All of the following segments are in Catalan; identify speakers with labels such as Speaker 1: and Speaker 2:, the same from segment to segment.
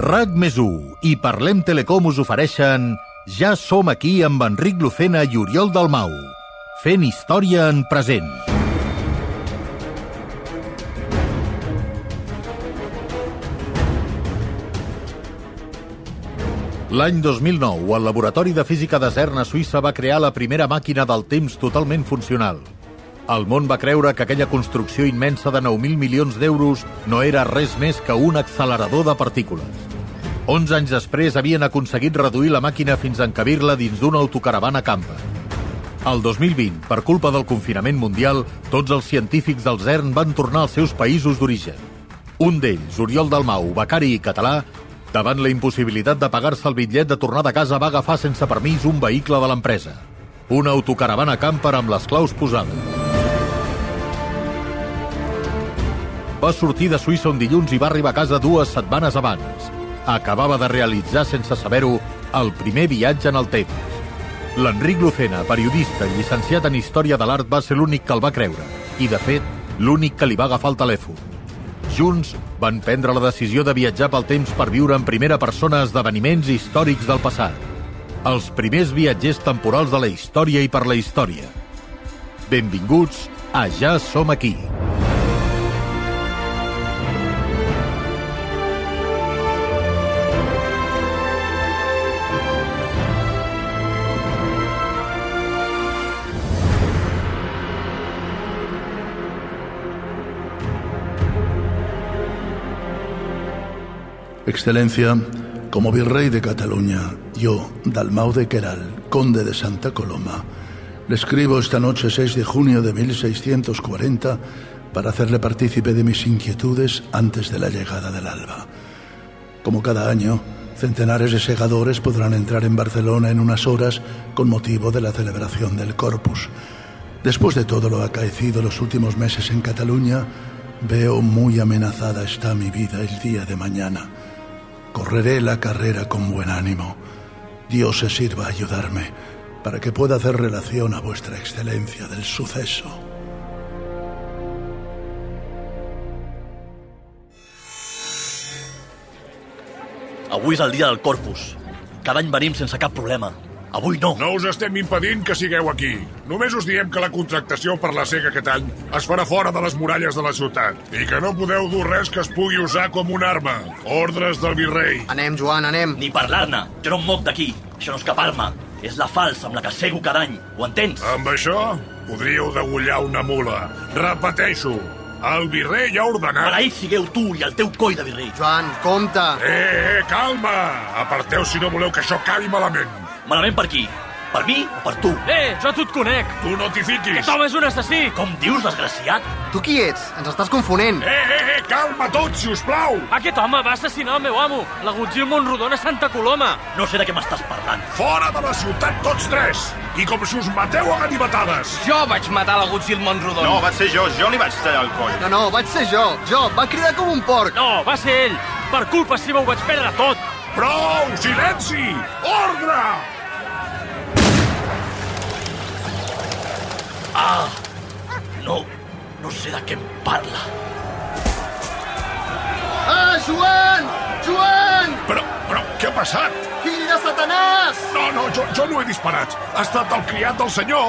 Speaker 1: RAC més 1 i Parlem Telecom us ofereixen Ja som aquí amb Enric Lucena i Oriol Dalmau, fent història en present. L'any 2009, el Laboratori de Física de CERN a Suïssa va crear la primera màquina del temps totalment funcional. El món va creure que aquella construcció immensa de 9.000 milions d'euros no era res més que un accelerador de partícules. 11 anys després havien aconseguit reduir la màquina fins a encabir-la dins d'una autocaravana campa. El 2020, per culpa del confinament mundial, tots els científics del CERN van tornar als seus països d'origen. Un d'ells, Oriol Dalmau, becari i català, davant la impossibilitat de pagar-se el bitllet de tornada a casa, va agafar sense permís un vehicle de l'empresa. Una autocaravana camper amb les claus posades. va sortir de Suïssa un dilluns i va arribar a casa dues setmanes abans. Acabava de realitzar, sense saber-ho, el primer viatge en el temps. L'Enric Lucena, periodista i llicenciat en Història de l'Art, va ser l'únic que el va creure. I, de fet, l'únic que li va agafar el telèfon. Junts van prendre la decisió de viatjar pel temps per viure en primera persona esdeveniments històrics del passat. Els primers viatgers temporals de la història i per la història. Benvinguts a Ja som aquí.
Speaker 2: Excelencia, como virrey de Cataluña, yo, Dalmau de Queral, conde de Santa Coloma, le escribo esta noche 6 de junio de 1640 para hacerle partícipe de mis inquietudes antes de la llegada del alba. Como cada año, centenares de segadores podrán entrar en Barcelona en unas horas con motivo de la celebración del Corpus. Después de todo lo acaecido los últimos meses en Cataluña, veo muy amenazada está mi vida el día de mañana. Correré la carrera con buen ánimo. Dios se sirva a ayudarme para que pueda hacer relación a vuestra excelencia del suceso.
Speaker 3: Avui és el dia del Corpus. Cada any venim sense cap problema. Avui no.
Speaker 4: No us estem impedint que sigueu aquí. Només us diem que la contractació per la sega aquest any es farà fora de les muralles de la ciutat i que no podeu dur res que es pugui usar com una arma. Ordres del virrei.
Speaker 5: Anem, Joan, anem.
Speaker 3: Ni parlar-ne. Jo no em moc d'aquí. Això no és cap arma. És la falsa amb la que cego cada any. Ho entens?
Speaker 4: Amb això podríeu degullar una mula. Repeteixo, el virrei ha ordenat...
Speaker 3: Maleït sigueu tu i el teu coi de virrei.
Speaker 5: Joan, compte.
Speaker 4: Eh, eh, calma! Aparteu si no voleu que això acabi malament.
Speaker 3: Malament per qui? Per mi o per tu?
Speaker 6: Eh, jo a tu et conec!
Speaker 4: Tu no t'hi fiquis.
Speaker 6: Aquest home és un assassí!
Speaker 3: Com dius, desgraciat?
Speaker 5: Tu qui ets? Ens estàs confonent.
Speaker 4: Eh, eh, eh, calma tots, si us plau!
Speaker 6: Aquest home va assassinar el meu amo, l'agutzil Monrodon a Santa Coloma.
Speaker 3: No sé de què m'estàs parlant.
Speaker 4: Fora de la ciutat tots tres! I com si us mateu a ganivetades!
Speaker 6: Jo vaig matar l'agutzil Monrodon.
Speaker 7: No, va ser jo, jo li vaig tallar el coll.
Speaker 5: No, no, vaig ser jo. Jo, va cridar com un porc.
Speaker 6: no, va ser ell. Per culpa seva ho vaig perdre tot.
Speaker 4: Prou! Silenci! Ordre!
Speaker 3: Ah, No, no sé de què em parla.
Speaker 5: Ah, Joan! Joan!
Speaker 4: Però, però, què ha passat?
Speaker 5: Fill de Satanàs!
Speaker 4: No, no, jo, jo no he disparat. Ha estat el criat del senyor,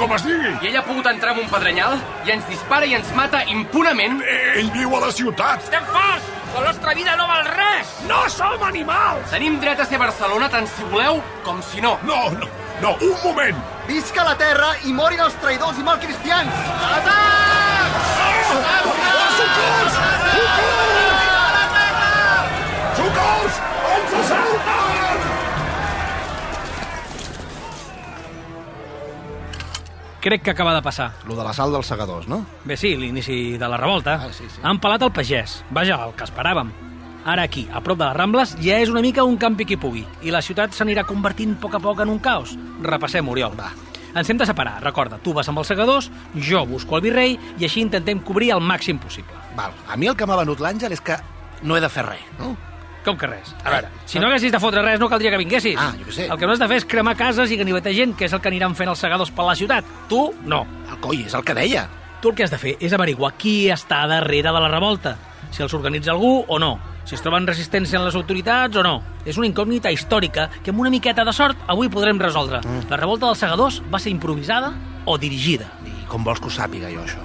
Speaker 4: com es digui.
Speaker 8: I ell ha pogut entrar en un pedrenyal i ens dispara i ens mata impunament?
Speaker 4: Eh, Ell viu a la ciutat.
Speaker 8: Estem forts! La nostra vida no val res!
Speaker 4: No som animals!
Speaker 8: Tenim dret a ser a Barcelona tant si voleu com si no.
Speaker 4: No, no, no, un moment!
Speaker 5: Visca la terra i morin els traïdors i malcristians! Atac!
Speaker 4: Socors! Ens assalten!
Speaker 6: Crec que acaba de passar.
Speaker 9: Lo de la sal dels segadors, no?
Speaker 6: Bé, sí, l'inici de la revolta.
Speaker 9: Ah, sí, sí.
Speaker 6: Han pelat el pagès. Vaja, el que esperàvem. Ara aquí, a prop de les Rambles, ja és una mica un campi qui pugui. I la ciutat s'anirà convertint a poc a poc en un caos. Repassem, Oriol. Va. Ens hem de separar, recorda. Tu vas amb els segadors, jo busco el virrei i així intentem cobrir el màxim possible.
Speaker 9: Val. A mi el que m'ha venut l'Àngel és que no he de fer res, no?
Speaker 6: Com que res?
Speaker 9: A veure,
Speaker 6: Si no haguessis de fotre res, no caldria que vinguessis.
Speaker 9: Ah, jo què sé.
Speaker 6: El que no has de fer és cremar cases i ganivetar gent, que és el que aniran fent els segadors per la ciutat. Tu, no.
Speaker 9: El coi, és el que deia.
Speaker 6: Tu el que has de fer és averiguar qui està darrere de la revolta, si els organitza algú o no. Si es troben resistència en les autoritats o no. És una incògnita històrica que amb una miqueta de sort avui podrem resoldre.
Speaker 4: Mm.
Speaker 6: La revolta dels segadors va ser improvisada o dirigida?
Speaker 4: I com vols que ho sàpiga jo, això?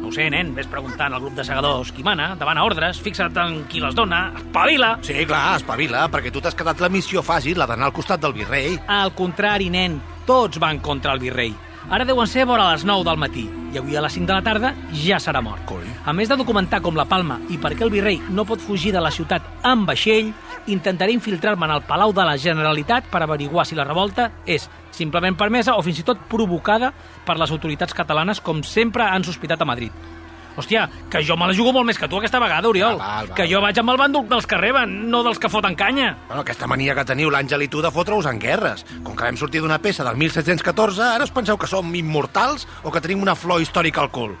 Speaker 6: No ho sé, nen, ves preguntant al grup de segadors qui mana, demana ordres, fixa't en qui les dona, espavila!
Speaker 4: Sí, clar, espavila, perquè tu t'has quedat la missió fàcil, la d'anar al costat del virrei.
Speaker 6: Al contrari, nen, tots van contra el virrei. Ara deuen ser vora les 9 del matí i avui a les 5 de la tarda ja serà mort.
Speaker 4: Coi.
Speaker 6: A més de documentar com la Palma i per què el virrei no pot fugir de la ciutat amb vaixell, intentaré infiltrar-me en el Palau de la Generalitat per averiguar si la revolta és simplement permesa o fins i tot provocada per les autoritats catalanes com sempre han sospitat a Madrid. Hòstia, que jo me la jugo molt més que tu aquesta vegada, Oriol.
Speaker 4: Ah, val, val.
Speaker 6: Que jo vaig amb el bàndol dels que reben, no dels que foten canya.
Speaker 4: Bueno, aquesta mania que teniu l'Àngel i tu de fotre-us en guerres. Com que vam sortir d'una peça del 1714, ara us penseu que som immortals o que tenim una flor històrica al cul?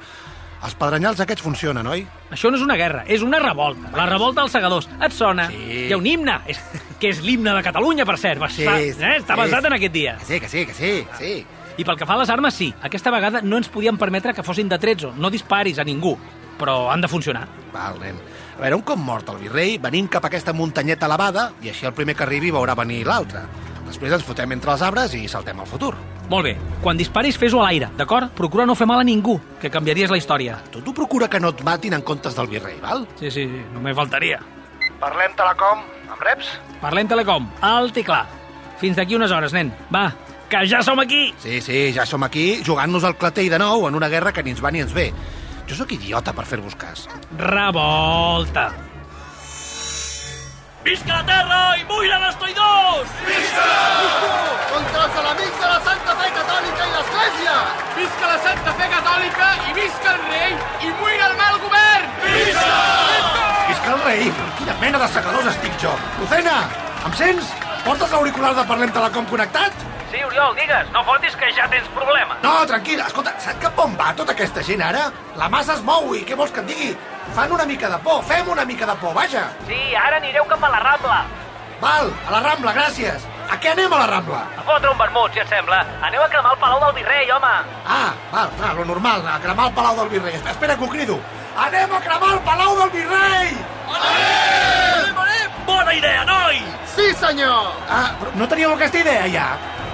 Speaker 4: Els pedrenyals aquests funcionen, oi?
Speaker 6: Això no és una guerra, és una revolta. La revolta dels segadors. Et sona?
Speaker 4: Sí.
Speaker 6: Hi ha un himne, és, que és l'himne de Catalunya, per cert. Va, va, eh? Està basat en aquest dia.
Speaker 4: Que sí, que sí, que sí, sí.
Speaker 6: I pel que fa a les armes, sí. Aquesta vegada no ens podíem permetre que fossin de 13. No disparis a ningú, però han de funcionar.
Speaker 4: Val, nen. A veure, un cop mort el virrei, venim cap a aquesta muntanyeta elevada i així el primer que arribi veurà venir l'altre. Després ens fotem entre els arbres i saltem al futur.
Speaker 6: Molt bé. Quan disparis, fes-ho a l'aire, d'acord? Procura no fer mal a ningú, que canviaries la història.
Speaker 4: Tu tu procura que no et matin en comptes del virrei, val?
Speaker 6: Sí, sí, sí. Només faltaria.
Speaker 4: Parlem telecom, amb reps?
Speaker 6: Parlem telecom. Alt i clar. Fins d'aquí unes hores, nen. Va, que ja som aquí!
Speaker 4: Sí, sí, ja som aquí, jugant-nos al clatell de nou en una guerra que ni ens va ni ens ve. Jo sóc idiota per fer-vos cas.
Speaker 6: Revolta! Visca la terra i buiden els traïdors!
Speaker 10: Contra els enemics de la Santa Fe Catòlica i l'Església!
Speaker 8: Visca la Santa Fe Catòlica i visca el rei i muira el mal govern! Visca!
Speaker 4: Visca el rei! Quina mena de segadors estic jo! Lucena, em sents? Portes l'auricular de Parlem Telecom connectat?
Speaker 6: Sí, Oriol, digues, no fotis que ja tens problemes.
Speaker 4: No, tranquil·la, escolta, saps cap on va tota aquesta gent ara? La massa es mou i què vols que et digui? Fan una mica de por, fem una mica de por, vaja!
Speaker 6: Sí, ara anireu cap a la Rambla.
Speaker 4: Val, a la Rambla, gràcies! A què anem a la Rambla?
Speaker 6: A fotre un vermut, si et sembla. Aneu a cremar el Palau del Virrei, home.
Speaker 4: Ah, val, clar, lo normal, a cremar el Palau del Virrei. Espera, espera que ho crido. Anem a cremar el Palau del Virrei!
Speaker 3: Bona idea, noi!
Speaker 10: Sí, senyor!
Speaker 4: Ah, però no teníeu aquesta idea, ja?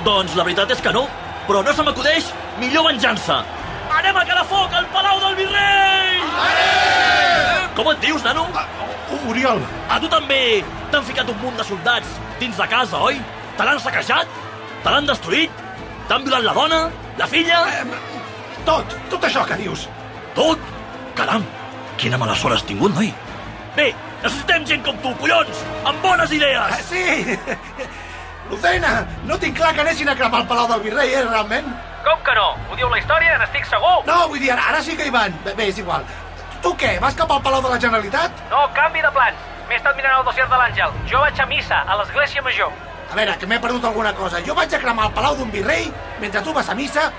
Speaker 3: Doncs la veritat és que no, però no se m'acudeix millor venjança. Anem a quedar foc al Palau del Virrei! Com et dius, nano?
Speaker 4: Uh, Oriol,
Speaker 3: A tu també t'han ficat un munt de soldats dins de casa, oi? Te l'han saquejat? Te l'han destruït? T'han violat la dona? La filla?
Speaker 4: tot, tot això que dius.
Speaker 3: Tot? Caram, quina mala sort has tingut, noi. Bé, necessitem gent com tu, collons, amb bones
Speaker 4: Ah,
Speaker 3: idees.
Speaker 4: sí! Lucena, no tinc clar que anessin a cremar el Palau del Virrei, eh, realment?
Speaker 6: Com que no? Ho diu la història, n'estic segur.
Speaker 4: No, vull dir, ara, ara sí que hi van. Bé, bé, és igual. Tu què, vas cap al Palau de la Generalitat?
Speaker 6: No, canvi de plans. M'he estat mirant el dossier de l'Àngel. Jo vaig a missa, a l'Església Major.
Speaker 4: A veure, que m'he perdut alguna cosa. Jo vaig a cremar el Palau d'un Virrei mentre tu vas a missa.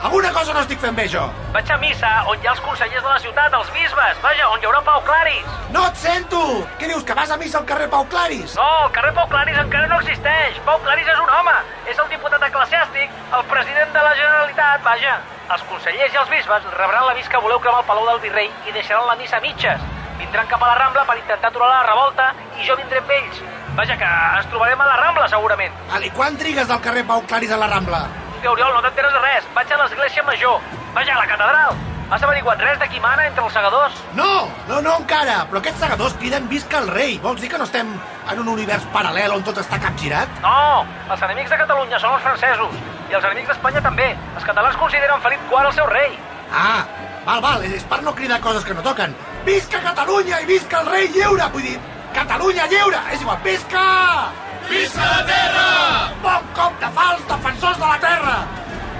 Speaker 4: Alguna cosa no estic fent bé, jo.
Speaker 6: Vaig a missa on hi ha els consellers de la ciutat, els bisbes, vaja, on hi haurà Pau Claris.
Speaker 4: No et sento! Què dius, que vas a missa al carrer Pau Claris?
Speaker 6: No, el carrer Pau Claris encara no existeix. Pau Claris és un home. És el diputat eclesiàstic, el president de la Generalitat, vaja. Els consellers i els bisbes rebran l'avís que voleu cremar el Palau del Virrei i deixaran la missa a mitges. Vindran cap a la Rambla per intentar aturar la revolta i jo vindré amb ells. Vaja, que ens trobarem a la Rambla, segurament.
Speaker 4: Vale, i quan trigues del carrer Pau Claris a la Rambla?
Speaker 6: Hòstia, Oriol, no t'enteres de res. Vaig a l'església major. Vaja, a la catedral. Has averiguat res de qui mana entre els segadors?
Speaker 4: No, no, no encara, però aquests segadors criden visca el rei. Vols dir que no estem en un univers paral·lel on tot està capgirat?
Speaker 6: No, els enemics de Catalunya són els francesos. I els enemics d'Espanya també. Els catalans consideren Felip IV el seu rei.
Speaker 4: Ah, val, val, és per no cridar coses que no toquen. Visca Catalunya i visca el rei lliure! Vull dir, Catalunya lliure! És igual, visca! Visca la terra! Bon cop de fals defensors de la terra!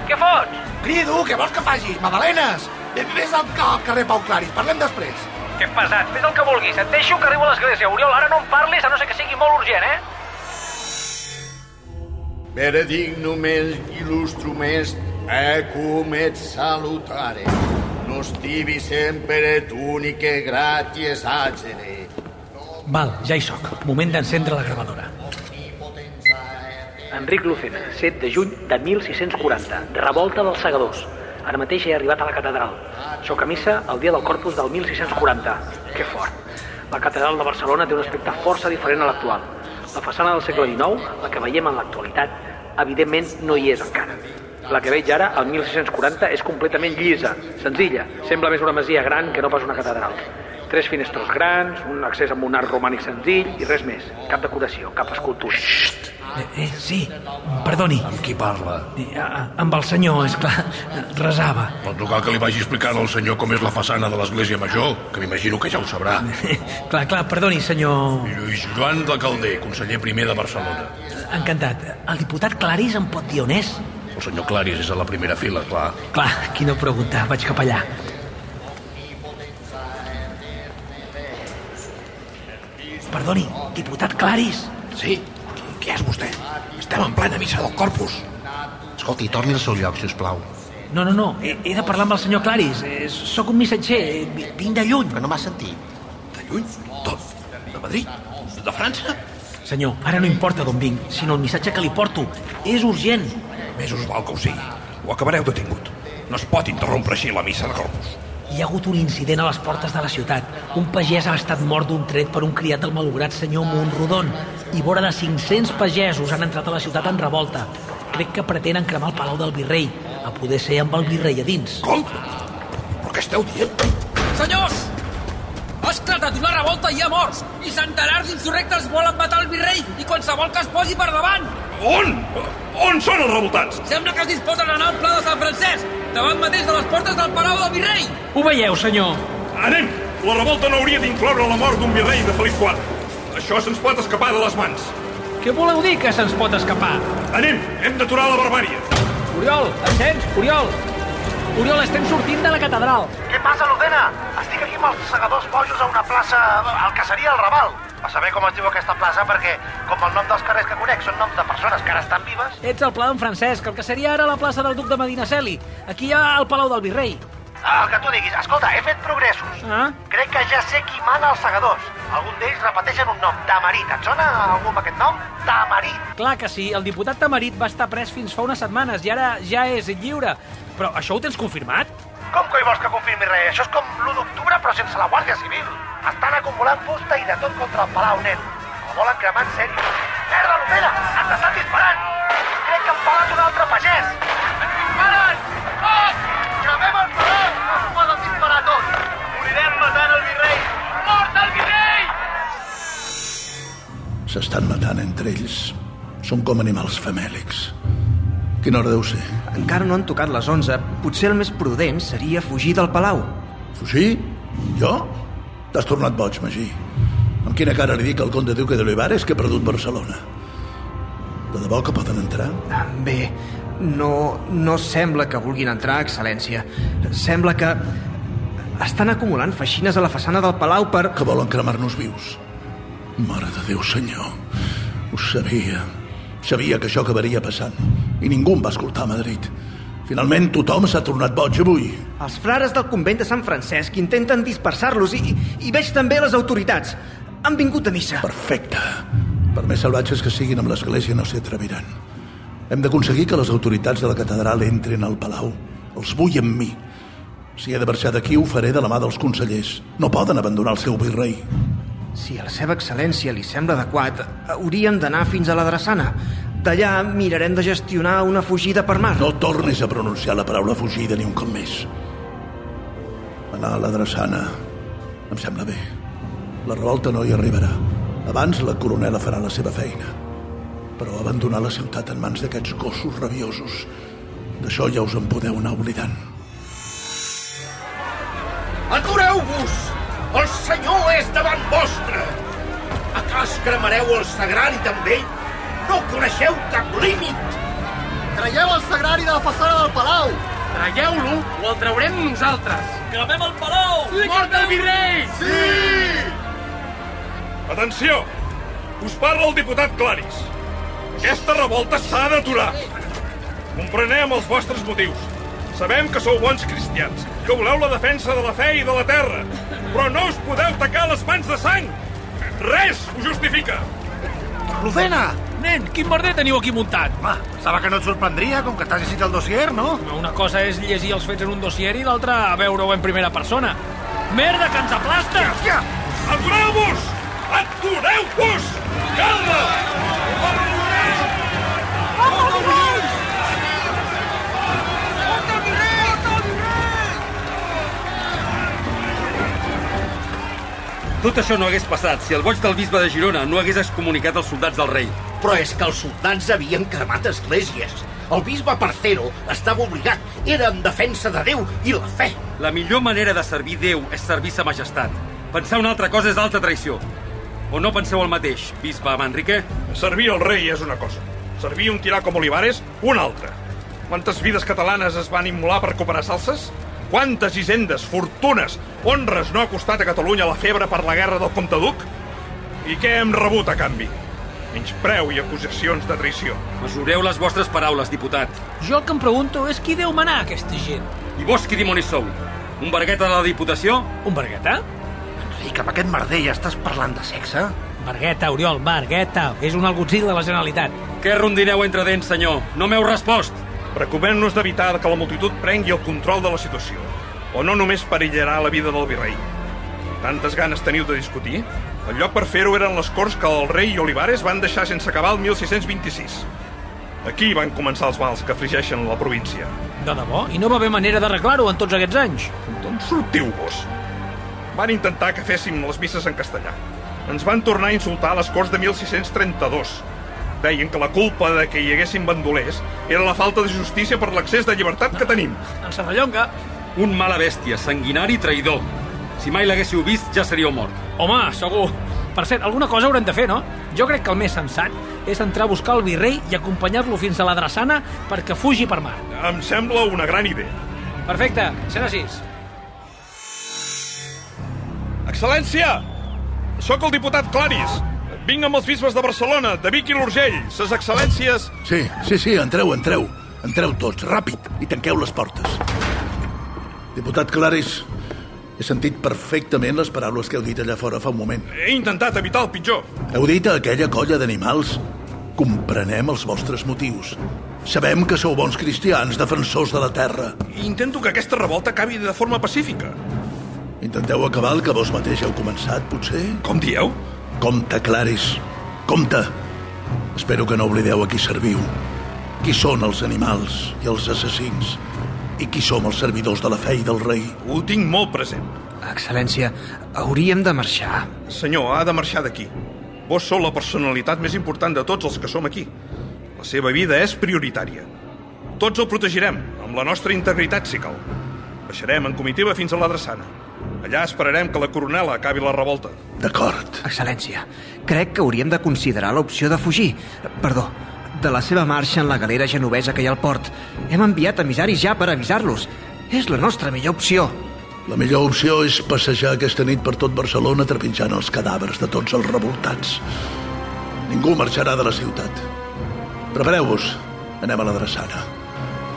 Speaker 6: Què fots?
Speaker 4: Crido, què vols que faci? Madalenes! Vés al, al carrer Pau Claris, parlem després.
Speaker 6: Que pesat, fes el que vulguis. Et deixo que arribo a l'església. Oriol, ara no em parlis, a no ser que sigui molt urgent, eh?
Speaker 11: Veredignum est illustrum est, ecum et salutare. Nos tibi sempre et e unice graties agere.
Speaker 6: Val, ja hi sóc. Moment d'encendre la gravadora. Enric Lucena, 7 de juny de 1640. Revolta dels segadors. Ara mateix he arribat a la catedral. Sóc a missa el dia del corpus del 1640. Que fort. La catedral de Barcelona té un aspecte força diferent a l'actual. La façana del segle XIX, la que veiem en l'actualitat, evidentment no hi és encara. La que veig ara, al 1640, és completament llisa, senzilla. Sembla més una masia gran que no pas una catedral. Tres finestres grans, un accés amb un art romànic senzill i res més. Cap decoració, cap escultura. Xxt! Eh, eh, sí, perdoni.
Speaker 7: Amb qui parla?
Speaker 6: Amb el senyor, és clar, eh, resava.
Speaker 12: Pot tocar Doncs que li vagi explicant al senyor com és la façana de l'església major, que m'imagino que ja ho sabrà.
Speaker 6: Clar, clar, perdoni, senyor...
Speaker 12: Lluís Joan de Calder, conseller primer de Barcelona.
Speaker 6: Encantat. El diputat Clarís em pot dir on és?
Speaker 12: El senyor Claris és a la primera fila, clar.
Speaker 6: Clar, quina pregunta, vaig cap allà. Perdoni, diputat Clarís.
Speaker 13: Sí, què és vostè? Estem en plena missa del Corpus. Escolti, torni al seu lloc, si us plau.
Speaker 6: No, no, no, he, he de parlar amb el senyor Clarís. Eh, Sóc un missatger, eh, vi- vinc de lluny.
Speaker 13: Però no m'ha sentit.
Speaker 6: De lluny?
Speaker 13: Tot. De Madrid? De França?
Speaker 6: Senyor, ara no importa d'on vinc, sinó el missatge que li porto. És urgent.
Speaker 7: Més us val que ho sigui. Ho acabareu detingut. No es pot interrompre així la missa de corpus.
Speaker 6: Hi ha hagut un incident a les portes de la ciutat. Un pagès ha estat mort d'un tret per un criat del malograt senyor Monrodon i vora de 500 pagesos han entrat a la ciutat en revolta. Crec que pretenen cremar el Palau del Virrei, a poder ser amb el virrei a dins.
Speaker 7: Com? Però què esteu dient?
Speaker 14: Senyors! Ha esclatat una revolta i hi ha morts! I centenars d'insurrectes volen matar el virrei i qualsevol que es posi per davant!
Speaker 7: On? On són els revoltats?
Speaker 14: Sembla que es disposen a anar al pla de Sant Francesc, davant mateix de les portes del Palau del Virrei!
Speaker 6: Ho veieu, senyor?
Speaker 7: Anem! La revolta no hauria d'incloure la mort d'un virrei de Felip IV. Això se'ns pot escapar de les mans.
Speaker 6: Què voleu dir que se'ns pot escapar?
Speaker 7: Anem! Hem d'aturar la barbària.
Speaker 6: Oriol, ascens, Oriol! Oriol, estem sortint de la catedral.
Speaker 4: Què passa, Lucena? Estic aquí amb els segadors bojos a una plaça... al que seria el Raval. A saber com es diu aquesta plaça, perquè com el nom dels carrers que conec són noms de persones que ara estan vives...
Speaker 6: Ets el pla d'en Francesc, el que seria ara la plaça del duc de Medinaceli. Aquí hi ha el Palau del Virrei.
Speaker 4: El que tu diguis. Escolta, he fet progressos.
Speaker 6: Ah?
Speaker 4: Crec que ja sé qui mana els segadors. Algun d'ells repeteixen un nom. Tamarit. Et sona algú amb aquest nom? Tamarit.
Speaker 6: Clar que sí, el diputat Tamarit va estar pres fins fa unes setmanes i ara ja és lliure. Però això ho tens confirmat?
Speaker 4: Com coi vols que confirmi res? Això és com l'1 d'octubre però sense la Guàrdia Civil. Estan acumulant fusta i de tot contra el Palau, nen. El volen cremar en sèrio. Merda, Lucena! Ens estan disparant! Crec que han pelat un altre pagès! Ens disparen! Tots! Cremem el Palau! No es poden disparar tots! Morirem matant el virrei! Mort el virrei!
Speaker 2: S'estan matant entre ells. Són com animals famèlics. Quina hora deu ser?
Speaker 15: Encara no han tocat les 11. Potser el més prudent seria fugir del palau.
Speaker 2: Fugir? Jo? T'has tornat boig, Magí. Amb quina cara li dic al conde duque de Olivares que he perdut Barcelona? De debò que poden entrar?
Speaker 15: Bé, no, no sembla que vulguin entrar, excel·lència. Sembla que... Estan acumulant feixines a la façana del palau per...
Speaker 2: Que volen cremar-nos vius. Mare de Déu, senyor. Ho sabia. Sabia que això acabaria passant. I ningú em va escoltar a Madrid. Finalment tothom s'ha tornat boig avui.
Speaker 15: Els frares del convent de Sant Francesc intenten dispersar-los i, i veig també les autoritats. Han vingut a missa.
Speaker 2: Perfecte. Per més salvatges que siguin amb l'església no s'hi atreviran. Hem d'aconseguir que les autoritats de la catedral entrin al palau. Els vull amb mi. Si he de marxar d'aquí ho faré de la mà dels consellers. No poden abandonar el seu virrei.
Speaker 15: Si a la seva excel·lència li sembla adequat, hauríem d'anar fins a la drassana. D'allà mirarem de gestionar una fugida per mar.
Speaker 2: No tornis a pronunciar la paraula fugida ni un cop més. Anar a la drassana em sembla bé. La revolta no hi arribarà. Abans la coronela farà la seva feina. Però abandonar la ciutat en mans d'aquests gossos rabiosos, d'això ja us en podeu anar oblidant.
Speaker 16: Atureu-vos! El senyor és davant vostre! A cas cremareu el sagrari també? No coneixeu cap límit!
Speaker 10: Traieu el sagrari de la façana del palau! Traieu-lo o el traurem nosaltres!
Speaker 3: Gravem el palau!
Speaker 8: Mort el virrei! Sí!
Speaker 7: Atenció! Us parla el diputat Claris. Aquesta revolta s'ha d'aturar. Comprenem els vostres motius. Sabem que sou bons cristians, que voleu la defensa de la fe i de la terra, però no us podeu tacar les mans de sang. Res ho justifica.
Speaker 6: Lucena! Nen, quin merder teniu aquí muntat? Home,
Speaker 4: pensava que no et sorprendria, com que t'has llegit el dossier, no?
Speaker 6: Una cosa és llegir els fets en un dossier i l'altra veure-ho en primera persona. Merda, que ens aplasta! Hòstia!
Speaker 7: Atureu-vos! Atureu-vos! Calma!
Speaker 17: Tot això no hagués passat si el boig del bisbe de Girona no hagués excomunicat els soldats del rei.
Speaker 18: Però és que els soldats havien cremat esglésies. El bisbe Parcero estava obligat. Era en defensa de Déu i la fe.
Speaker 17: La millor manera de servir Déu és servir sa majestat. Pensar una altra cosa és alta traïció. O no penseu el mateix, bisbe Manrique?
Speaker 7: Servir el rei és una cosa. Servir un tirà com Olivares, una altra. Quantes vides catalanes es van immolar per cooperar salses? Quantes hisendes, fortunes, honres no ha costat a Catalunya la febre per la guerra del comte Duc? I què hem rebut a canvi? Menyspreu i acusacions de traïció.
Speaker 17: Mesureu les vostres paraules, diputat.
Speaker 6: Jo el que em pregunto és qui deu manar aquesta gent.
Speaker 17: I vos qui dimonis sou? Un vergueta de la Diputació?
Speaker 6: Un eh? vergueta?
Speaker 4: Enric, amb aquest merder ja estàs parlant de sexe?
Speaker 6: Vergueta, Oriol, vergueta. És un algutzil de la Generalitat.
Speaker 17: Què rondineu entre dents, senyor? No m'heu respost.
Speaker 7: Recomano-nos d'evitar que la multitud prengui el control de la situació, o no només perillarà la vida del virrei. Tantes ganes teniu de discutir? El lloc per fer-ho eren les corts que el rei i Olivares van deixar sense acabar el 1626. Aquí van començar els mals que afligeixen la província.
Speaker 6: De debò? I no va haver manera d'arreglar-ho en tots aquests anys?
Speaker 7: D'on sortiu vos? Van intentar que féssim les misses en castellà. Ens van tornar a insultar a les Corts de 1632. Deien que la culpa de que hi haguessin bandolers era la falta de justícia per l'accés de llibertat que tenim.
Speaker 6: En Serrallonga?
Speaker 17: Un mala bèstia, sanguinari i traïdor. Si mai l'haguéssiu vist, ja seríeu mort.
Speaker 6: Home, segur. Per cert, alguna cosa haurem de fer, no? Jo crec que el més sensat és entrar a buscar el virrei i acompanyar-lo fins a la drassana perquè fugi per mar.
Speaker 7: Em sembla una gran idea.
Speaker 6: Perfecte, serà així.
Speaker 7: Excel·lència! Sóc el diputat Claris. Vinc amb els bisbes de Barcelona, de Vic i l'Urgell, ses excel·lències...
Speaker 2: Sí, sí, sí, entreu, entreu. Entreu tots, ràpid, i tanqueu les portes. Diputat Claris, he sentit perfectament les paraules que heu dit allà fora fa un moment.
Speaker 7: He intentat evitar el pitjor.
Speaker 2: Heu dit a aquella colla d'animals comprenem els vostres motius. Sabem que sou bons cristians, defensors de la terra.
Speaker 7: I intento que aquesta revolta acabi de forma pacífica.
Speaker 2: Intenteu acabar el que vos mateix heu començat, potser?
Speaker 7: Com dieu?
Speaker 2: Compte, Claris. Compte. Espero que no oblideu a qui serviu. Qui són els animals i els assassins? I qui som els servidors de la fe i del rei?
Speaker 7: Ho tinc molt present.
Speaker 15: Excel·lència, hauríem de marxar.
Speaker 7: Senyor, ha de marxar d'aquí. Vos sou la personalitat més important de tots els que som aquí. La seva vida és prioritària. Tots el protegirem, amb la nostra integritat si cal. Baixarem en comitiva fins a la drassana. Allà esperarem que la coronela acabi la revolta.
Speaker 2: D'acord.
Speaker 15: Excel·lència, crec que hauríem de considerar l'opció de fugir. Perdó, de la seva marxa en la galera genovesa que hi ha al port. Hem enviat emissaris ja per avisar-los. És la nostra millor opció.
Speaker 2: La millor opció és passejar aquesta nit per tot Barcelona trepitjant els cadàvers de tots els revoltats. Ningú marxarà de la ciutat. Prepareu-vos. Anem a la drassana.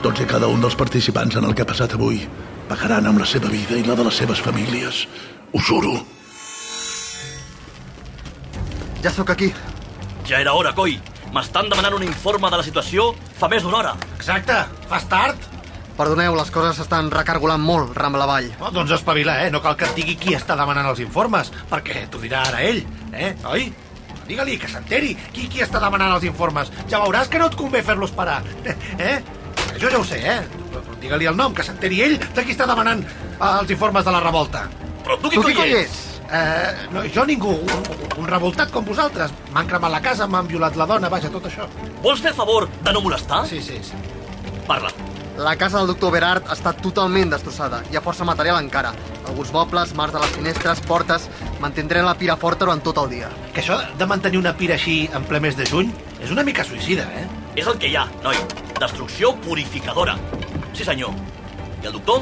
Speaker 2: Tots i cada un dels participants en el que ha passat avui pagaran amb la seva vida i la de les seves famílies. Ho juro.
Speaker 5: Ja sóc aquí.
Speaker 3: Ja era hora, coi. M'estan demanant un informe de la situació fa més d'una hora.
Speaker 5: Exacte. Fas tard. Perdoneu, les coses s'estan recargolant molt, Rambla Vall.
Speaker 4: Oh, doncs espavila, eh? No cal que et digui qui està demanant els informes, perquè t'ho dirà ara ell, eh? Oi? Digue-li que s'enteri qui, qui està demanant els informes. Ja veuràs que no et convé fer-los parar, eh? Jo ja ho sé, eh? Però Digue-li el nom, que s'enteri ell de qui està demanant eh, els informes de la revolta.
Speaker 3: Però tu qui coi ets?
Speaker 4: Eh, no, jo ningú, un, un revoltat com vosaltres. M'han cremat la casa, m'han violat la dona, vaja, tot això.
Speaker 3: Vols fer favor de no molestar?
Speaker 4: Sí, sí, sí.
Speaker 3: Parla.
Speaker 5: La casa del doctor Berard està totalment destrossada. Hi ha força material encara. Alguns mobles, mars de les finestres, portes... Mantindré la pira forta durant tot el dia.
Speaker 4: Que això de mantenir una pira així en ple mes de juny és una mica suïcida, eh?
Speaker 3: És el que hi ha, noi. Destrucció purificadora. Sí, senyor. I el doctor?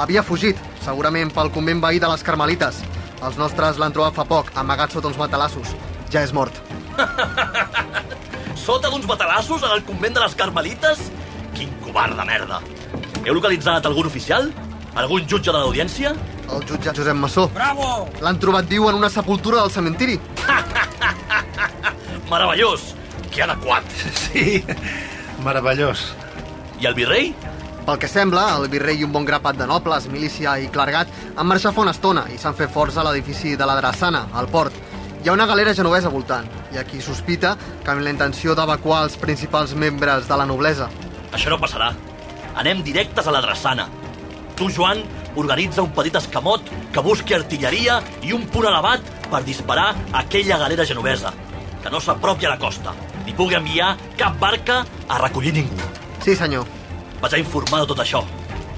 Speaker 5: Havia fugit, segurament pel convent veí de les Carmelites. Els nostres l'han trobat fa poc, amagat sota uns matalassos. Ja és mort.
Speaker 3: Sota d'uns matalassos en el convent de les Carmelites? Quin covard de merda. Heu localitzat algun oficial? Algun jutge de l'audiència?
Speaker 5: El jutge Josep Massó.
Speaker 19: Bravo!
Speaker 5: L'han trobat viu en una sepultura del cementiri.
Speaker 3: Meravellós! Que adequat!
Speaker 4: Sí, meravellós.
Speaker 3: I el virrei?
Speaker 5: Pel que sembla, el virrei i un bon grapat de nobles, milícia i clergat han marxat fa una estona i s'han fet forts a l'edifici de la Drassana, al port. Hi ha una galera genovesa al voltant, i aquí sospita que amb la intenció d'evacuar els principals membres de la noblesa.
Speaker 3: Això no passarà. Anem directes a la drassana. Tu, Joan, organitza un petit escamot que busqui artilleria i un punt elevat per disparar aquella galera genovesa, que no s'apropi a la costa, ni pugui enviar cap barca a recollir ningú.
Speaker 5: Sí, senyor.
Speaker 3: Vaig a informar de tot això.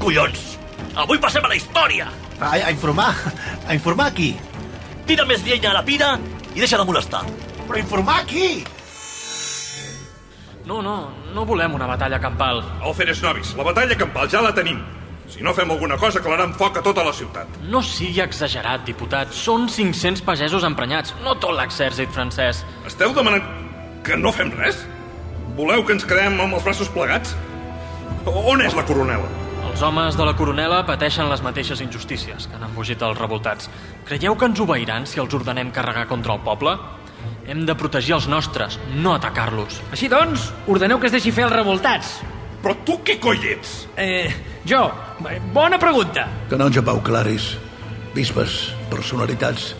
Speaker 3: Collons! Avui passem a la història!
Speaker 13: A, a informar? A informar aquí?
Speaker 3: Tira més llenya a la pira i deixa de molestar.
Speaker 16: Però informar aquí!
Speaker 7: No, no, no volem una batalla campal. Alferes Novis, la batalla campal ja la tenim. Si no fem alguna cosa, clararan foc a tota la ciutat.
Speaker 20: No sigui exagerat, diputat. Són 500 pagesos emprenyats, no tot l'exèrcit francès.
Speaker 7: Esteu demanant que no fem res? Voleu que ens quedem amb els braços plegats? On és la coronela?
Speaker 20: Els homes de la coronela pateixen les mateixes injustícies que han embogit els revoltats. Creieu que ens obeiran si els ordenem carregar contra el poble? Hem de protegir els nostres, no atacar-los.
Speaker 6: Així doncs, ordeneu que es deixi fer els revoltats.
Speaker 7: Però tu què coi ets?
Speaker 6: Eh, jo? Eh, Bona pregunta.
Speaker 2: Canonge Pau Claris, bisbes, personalitats...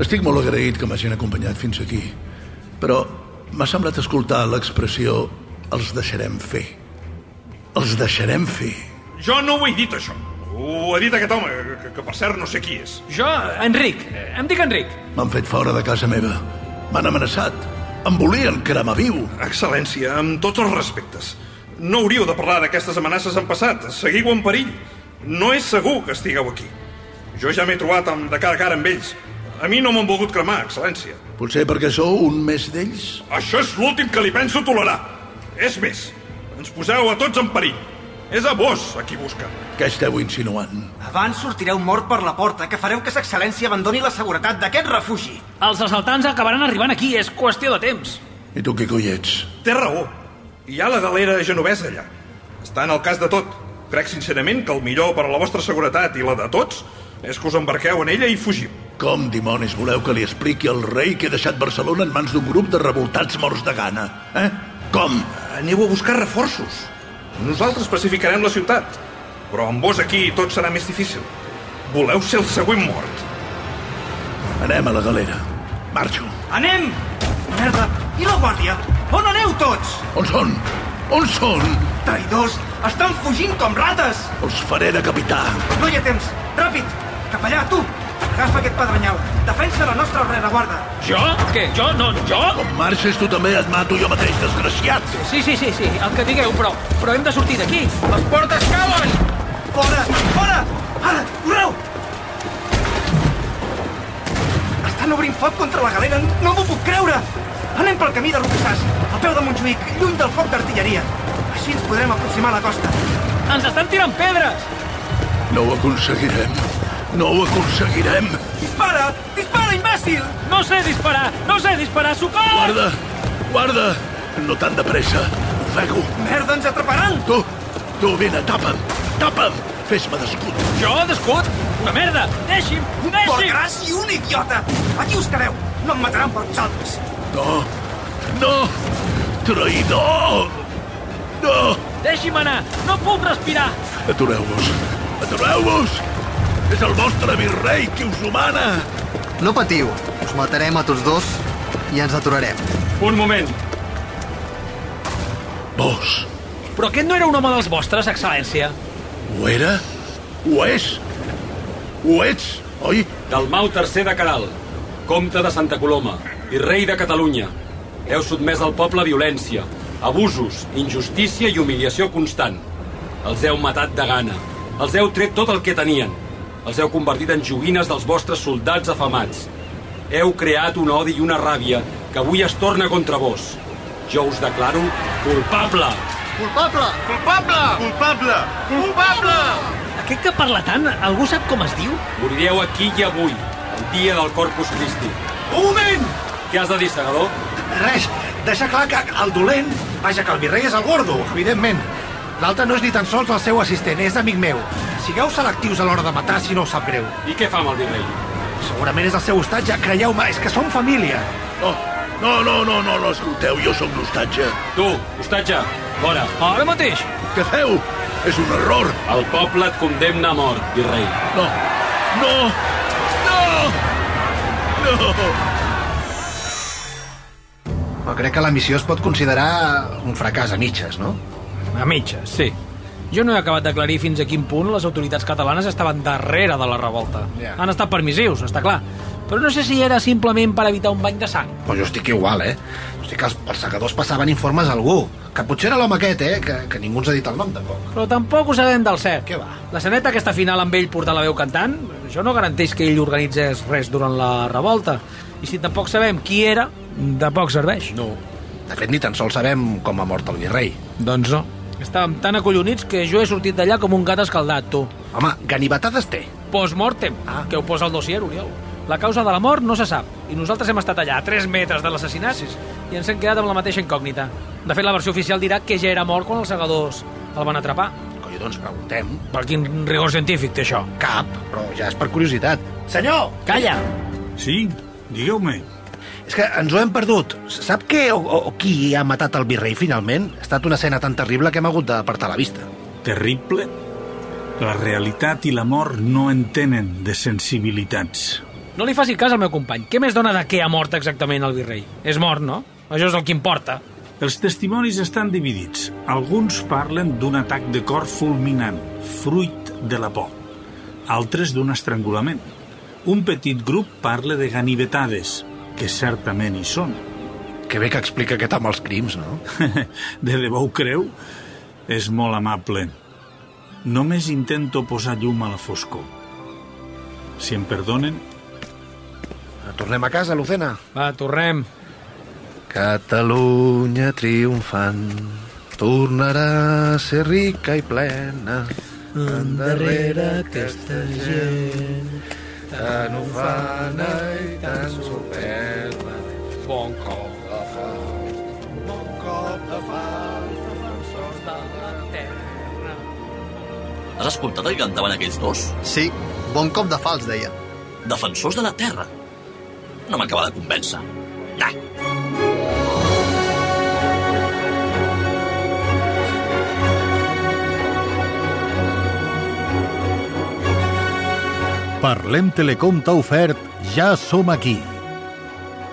Speaker 2: Estic molt agraït que m'hagin acompanyat fins aquí, però m'ha semblat escoltar l'expressió els deixarem fer. Els deixarem fer.
Speaker 7: Jo no ho he dit, això. Ho ha dit aquest home, que, que per cert no sé qui és.
Speaker 6: Jo, Enric. Eh, Em dic Enric.
Speaker 2: M'han fet fora de casa meva. M'han amenaçat. Em volien cremar viu.
Speaker 7: Excel·lència, amb tots els respectes. No hauríeu de parlar d'aquestes amenaces en passat. Seguiu en perill. No és segur que estigueu aquí. Jo ja m'he trobat amb, de cara a cara amb ells. A mi no m'han volgut cremar, excel·lència.
Speaker 2: Potser perquè sou un més d'ells?
Speaker 7: Això és l'últim que li penso tolerar. És més, ens poseu a tots en perill. És a vos a qui busquen.
Speaker 2: Què esteu insinuant?
Speaker 21: Abans sortireu mort per la porta, que fareu que s'excel·lència abandoni la seguretat d'aquest refugi.
Speaker 6: Els assaltants acabaran arribant aquí, és qüestió de temps.
Speaker 2: I tu què coi ets?
Speaker 7: Té raó. Hi ha la galera genovesa allà. Està en el cas de tot. Crec sincerament que el millor per a la vostra seguretat i la de tots és que us embarqueu en ella i fugiu.
Speaker 2: Com dimonis voleu que li expliqui al rei que he deixat Barcelona en mans d'un grup de revoltats morts de gana? Eh? Com?
Speaker 7: Aneu a buscar reforços. Nosaltres pacificarem la ciutat, però amb vos aquí tot serà més difícil. Voleu ser el següent mort.
Speaker 2: Anem a la galera. Marxo.
Speaker 21: Anem! Merda! I la guàrdia? On aneu tots?
Speaker 2: On són? On són?
Speaker 21: Traïdors! Estan fugint com rates!
Speaker 2: Els faré decapitar.
Speaker 21: No hi ha temps! Ràpid! Capellà, tu! Agafa aquest pedrenyal. Defensa la nostra rereguarda.
Speaker 6: Jo? Què? Jo? No, jo?
Speaker 2: Com marxes tu també et mato jo mateix, desgraciat.
Speaker 6: Sí, sí, sí, sí, el que digueu, però, però hem de sortir d'aquí.
Speaker 21: Les portes cauen! Fora! Fora! Ara! Correu! Estan obrint foc contra la galera. No m'ho puc creure! Anem pel camí de Ruxàs, a peu de Montjuïc, lluny del foc d'artilleria. Així ens podrem aproximar a la costa.
Speaker 6: Ens estan tirant pedres!
Speaker 2: No ho aconseguirem. No ho aconseguirem.
Speaker 21: Dispara! Dispara, imbècil!
Speaker 6: No sé disparar! No sé disparar! Socors!
Speaker 2: Guarda! Guarda! No tant de pressa. Ofego.
Speaker 21: Merda, ens atraparan!
Speaker 2: Tu, tu, vine, tapa'm. Tapa'm. Fes-me d'escut.
Speaker 6: Jo, d'escut? Una merda! Deixi'm! Deixi'm!
Speaker 21: Porcaràs i un idiota! Aquí us quedeu! No em mataran per vosaltres!
Speaker 2: No. No. Traïdor! No.
Speaker 6: Deixi'm anar! No puc respirar!
Speaker 2: Atureu-vos. Atureu-vos! És el vostre virrei qui us humana.
Speaker 5: No patiu, us matarem a tots dos i ens aturarem.
Speaker 7: Un moment.
Speaker 2: Vos.
Speaker 6: Però aquest no era un home dels vostres, excel·lència.
Speaker 2: Ho era? Ho és? Ho ets, oi?
Speaker 17: Dalmau III de Caral, comte de Santa Coloma i rei de Catalunya. Heu sotmès al poble a violència, abusos, injustícia i humiliació constant. Els heu matat de gana. Els heu tret tot el que tenien. Els heu convertit en joguines dels vostres soldats afamats. Heu creat un odi i una ràbia que avui es torna contra vos. Jo us declaro culpable.
Speaker 5: Culpable!
Speaker 8: Culpable!
Speaker 22: Culpable!
Speaker 8: Culpable!
Speaker 6: Aquest que parla tant, algú sap com es diu?
Speaker 17: Morireu aquí i avui, el dia del Corpus Christi.
Speaker 21: Un moment!
Speaker 17: Què has de dir, segador?
Speaker 13: Res, deixa clar que el dolent... Vaja, que el virrei és el gordo, evidentment. L'altre no és ni tan sols el seu assistent, és amic meu. Sigueu selectius a l'hora de matar si no us sap greu.
Speaker 17: I què fa amb el virrei?
Speaker 13: Segurament és el seu hostatge, creieu-me, és que som família.
Speaker 2: No, Oh, no, no, no, no, no escolteu, jo sóc l'hostatge.
Speaker 17: Tu, hostatge, fora.
Speaker 6: Ara mateix!
Speaker 2: Què feu? És un error!
Speaker 23: El poble et condemna a mort, virrei.
Speaker 2: No! No! No! No!
Speaker 4: Però crec que la missió es pot considerar un fracàs a mitges, no?
Speaker 6: A mitges, sí. Jo no he acabat d'aclarir fins a quin punt les autoritats catalanes estaven darrere de la revolta.
Speaker 4: Ja.
Speaker 6: Han estat permissius, està clar. Però no sé si era simplement per evitar un bany de sang.
Speaker 4: Però jo estic igual, eh? Hosti, que els perseguidors passaven informes a algú. Que potser era l'home aquest, eh? Que, que ningú ens ha dit el nom, tampoc.
Speaker 6: Però tampoc ho sabem del cert. Què va? La esceneta aquesta final amb ell portant la veu cantant, això no garanteix que ell organitzés res durant la revolta. I si tampoc sabem qui era, de poc serveix.
Speaker 4: No. De fet, ni tan sols sabem com ha mort el virrei.
Speaker 6: Doncs no. Estàvem tan acollonits que jo he sortit d'allà com un gat escaldat, tu.
Speaker 4: Home, ganivetades té.
Speaker 6: Postmortem, ah. que ho posa el dossier, Oriol. La causa de la mort no se sap, i nosaltres hem estat allà a 3 metres de l'assassinat i ens hem quedat amb la mateixa incògnita. De fet, la versió oficial dirà que ja era mort quan els segadors el van atrapar.
Speaker 4: Coi, doncs preguntem.
Speaker 6: Per quin rigor científic té això?
Speaker 4: Cap, però ja és per curiositat. Senyor!
Speaker 6: Calla!
Speaker 4: Sí, digueu-me. És que ens ho hem perdut. S- Sap què o, o, o qui ha matat el virrei, finalment? Ha estat una escena tan terrible que hem hagut d'apartar la vista.
Speaker 24: Terrible? La realitat i l'amor no en tenen de sensibilitats.
Speaker 6: No li faci cas al meu company. Què més dona de què ha mort exactament el virrei? És mort, no? Això és el que importa.
Speaker 24: Els testimonis estan dividits. Alguns parlen d'un atac de cor fulminant, fruit de la por. Altres d'un estrangulament. Un petit grup parla de ganivetades, que certament hi són.
Speaker 4: Que bé que explica aquest amb els crims, no?
Speaker 24: de debò ho creu? És molt amable. Només intento posar llum a la foscor. Si em perdonen,
Speaker 4: Tornem a casa, Lucena.
Speaker 6: Va, tornem.
Speaker 4: Catalunya triomfant tornarà a ser rica i plena. Mm.
Speaker 17: Endarrere aquesta gent tan ufana i tan superba.
Speaker 6: Bon cop
Speaker 17: de fal, bon cop de fal, defensors de la terra.
Speaker 3: Has escoltat el que cantaven aquells dos?
Speaker 5: Sí, bon cop de fals, deia.
Speaker 3: Defensors de la Terra. No m'acaba de convèncer. Nah.
Speaker 1: Parlem Telecom t'ha ofert Ja som aquí.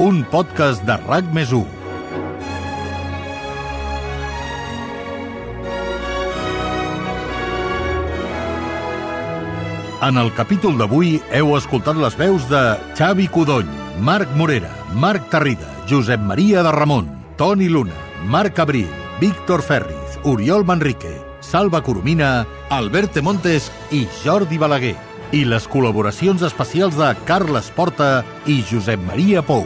Speaker 1: Un podcast de RAC més 1. En el capítol d'avui heu escoltat les veus de Xavi Codony, Marc Morera, Marc Tarrida, Josep Maria de Ramon, Toni Luna, Marc Abril, Víctor Ferriz, Oriol Manrique, Salva Coromina, Albert de Montes i Jordi Balaguer. I les col·laboracions especials de Carles Porta i Josep Maria Pou.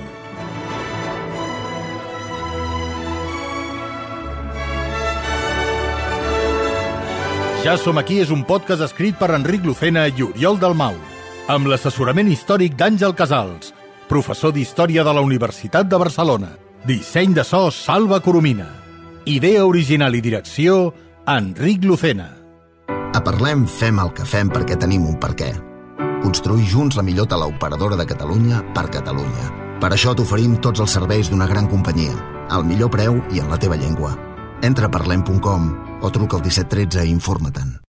Speaker 1: Ja som aquí és un podcast escrit per Enric Lucena i Oriol Dalmau, amb l'assessorament històric d'Àngel Casals, professor d'Història de la Universitat de Barcelona. Disseny de so Salva Coromina. Idea original i direcció Enric Lucena.
Speaker 25: A Parlem fem el que fem perquè tenim un per què. Construir junts la millor teleoperadora de Catalunya per Catalunya. Per això t'oferim tots els serveis d'una gran companyia, al millor preu i en la teva llengua. Entra a parlem.com o truca al 1713 i informa-te'n.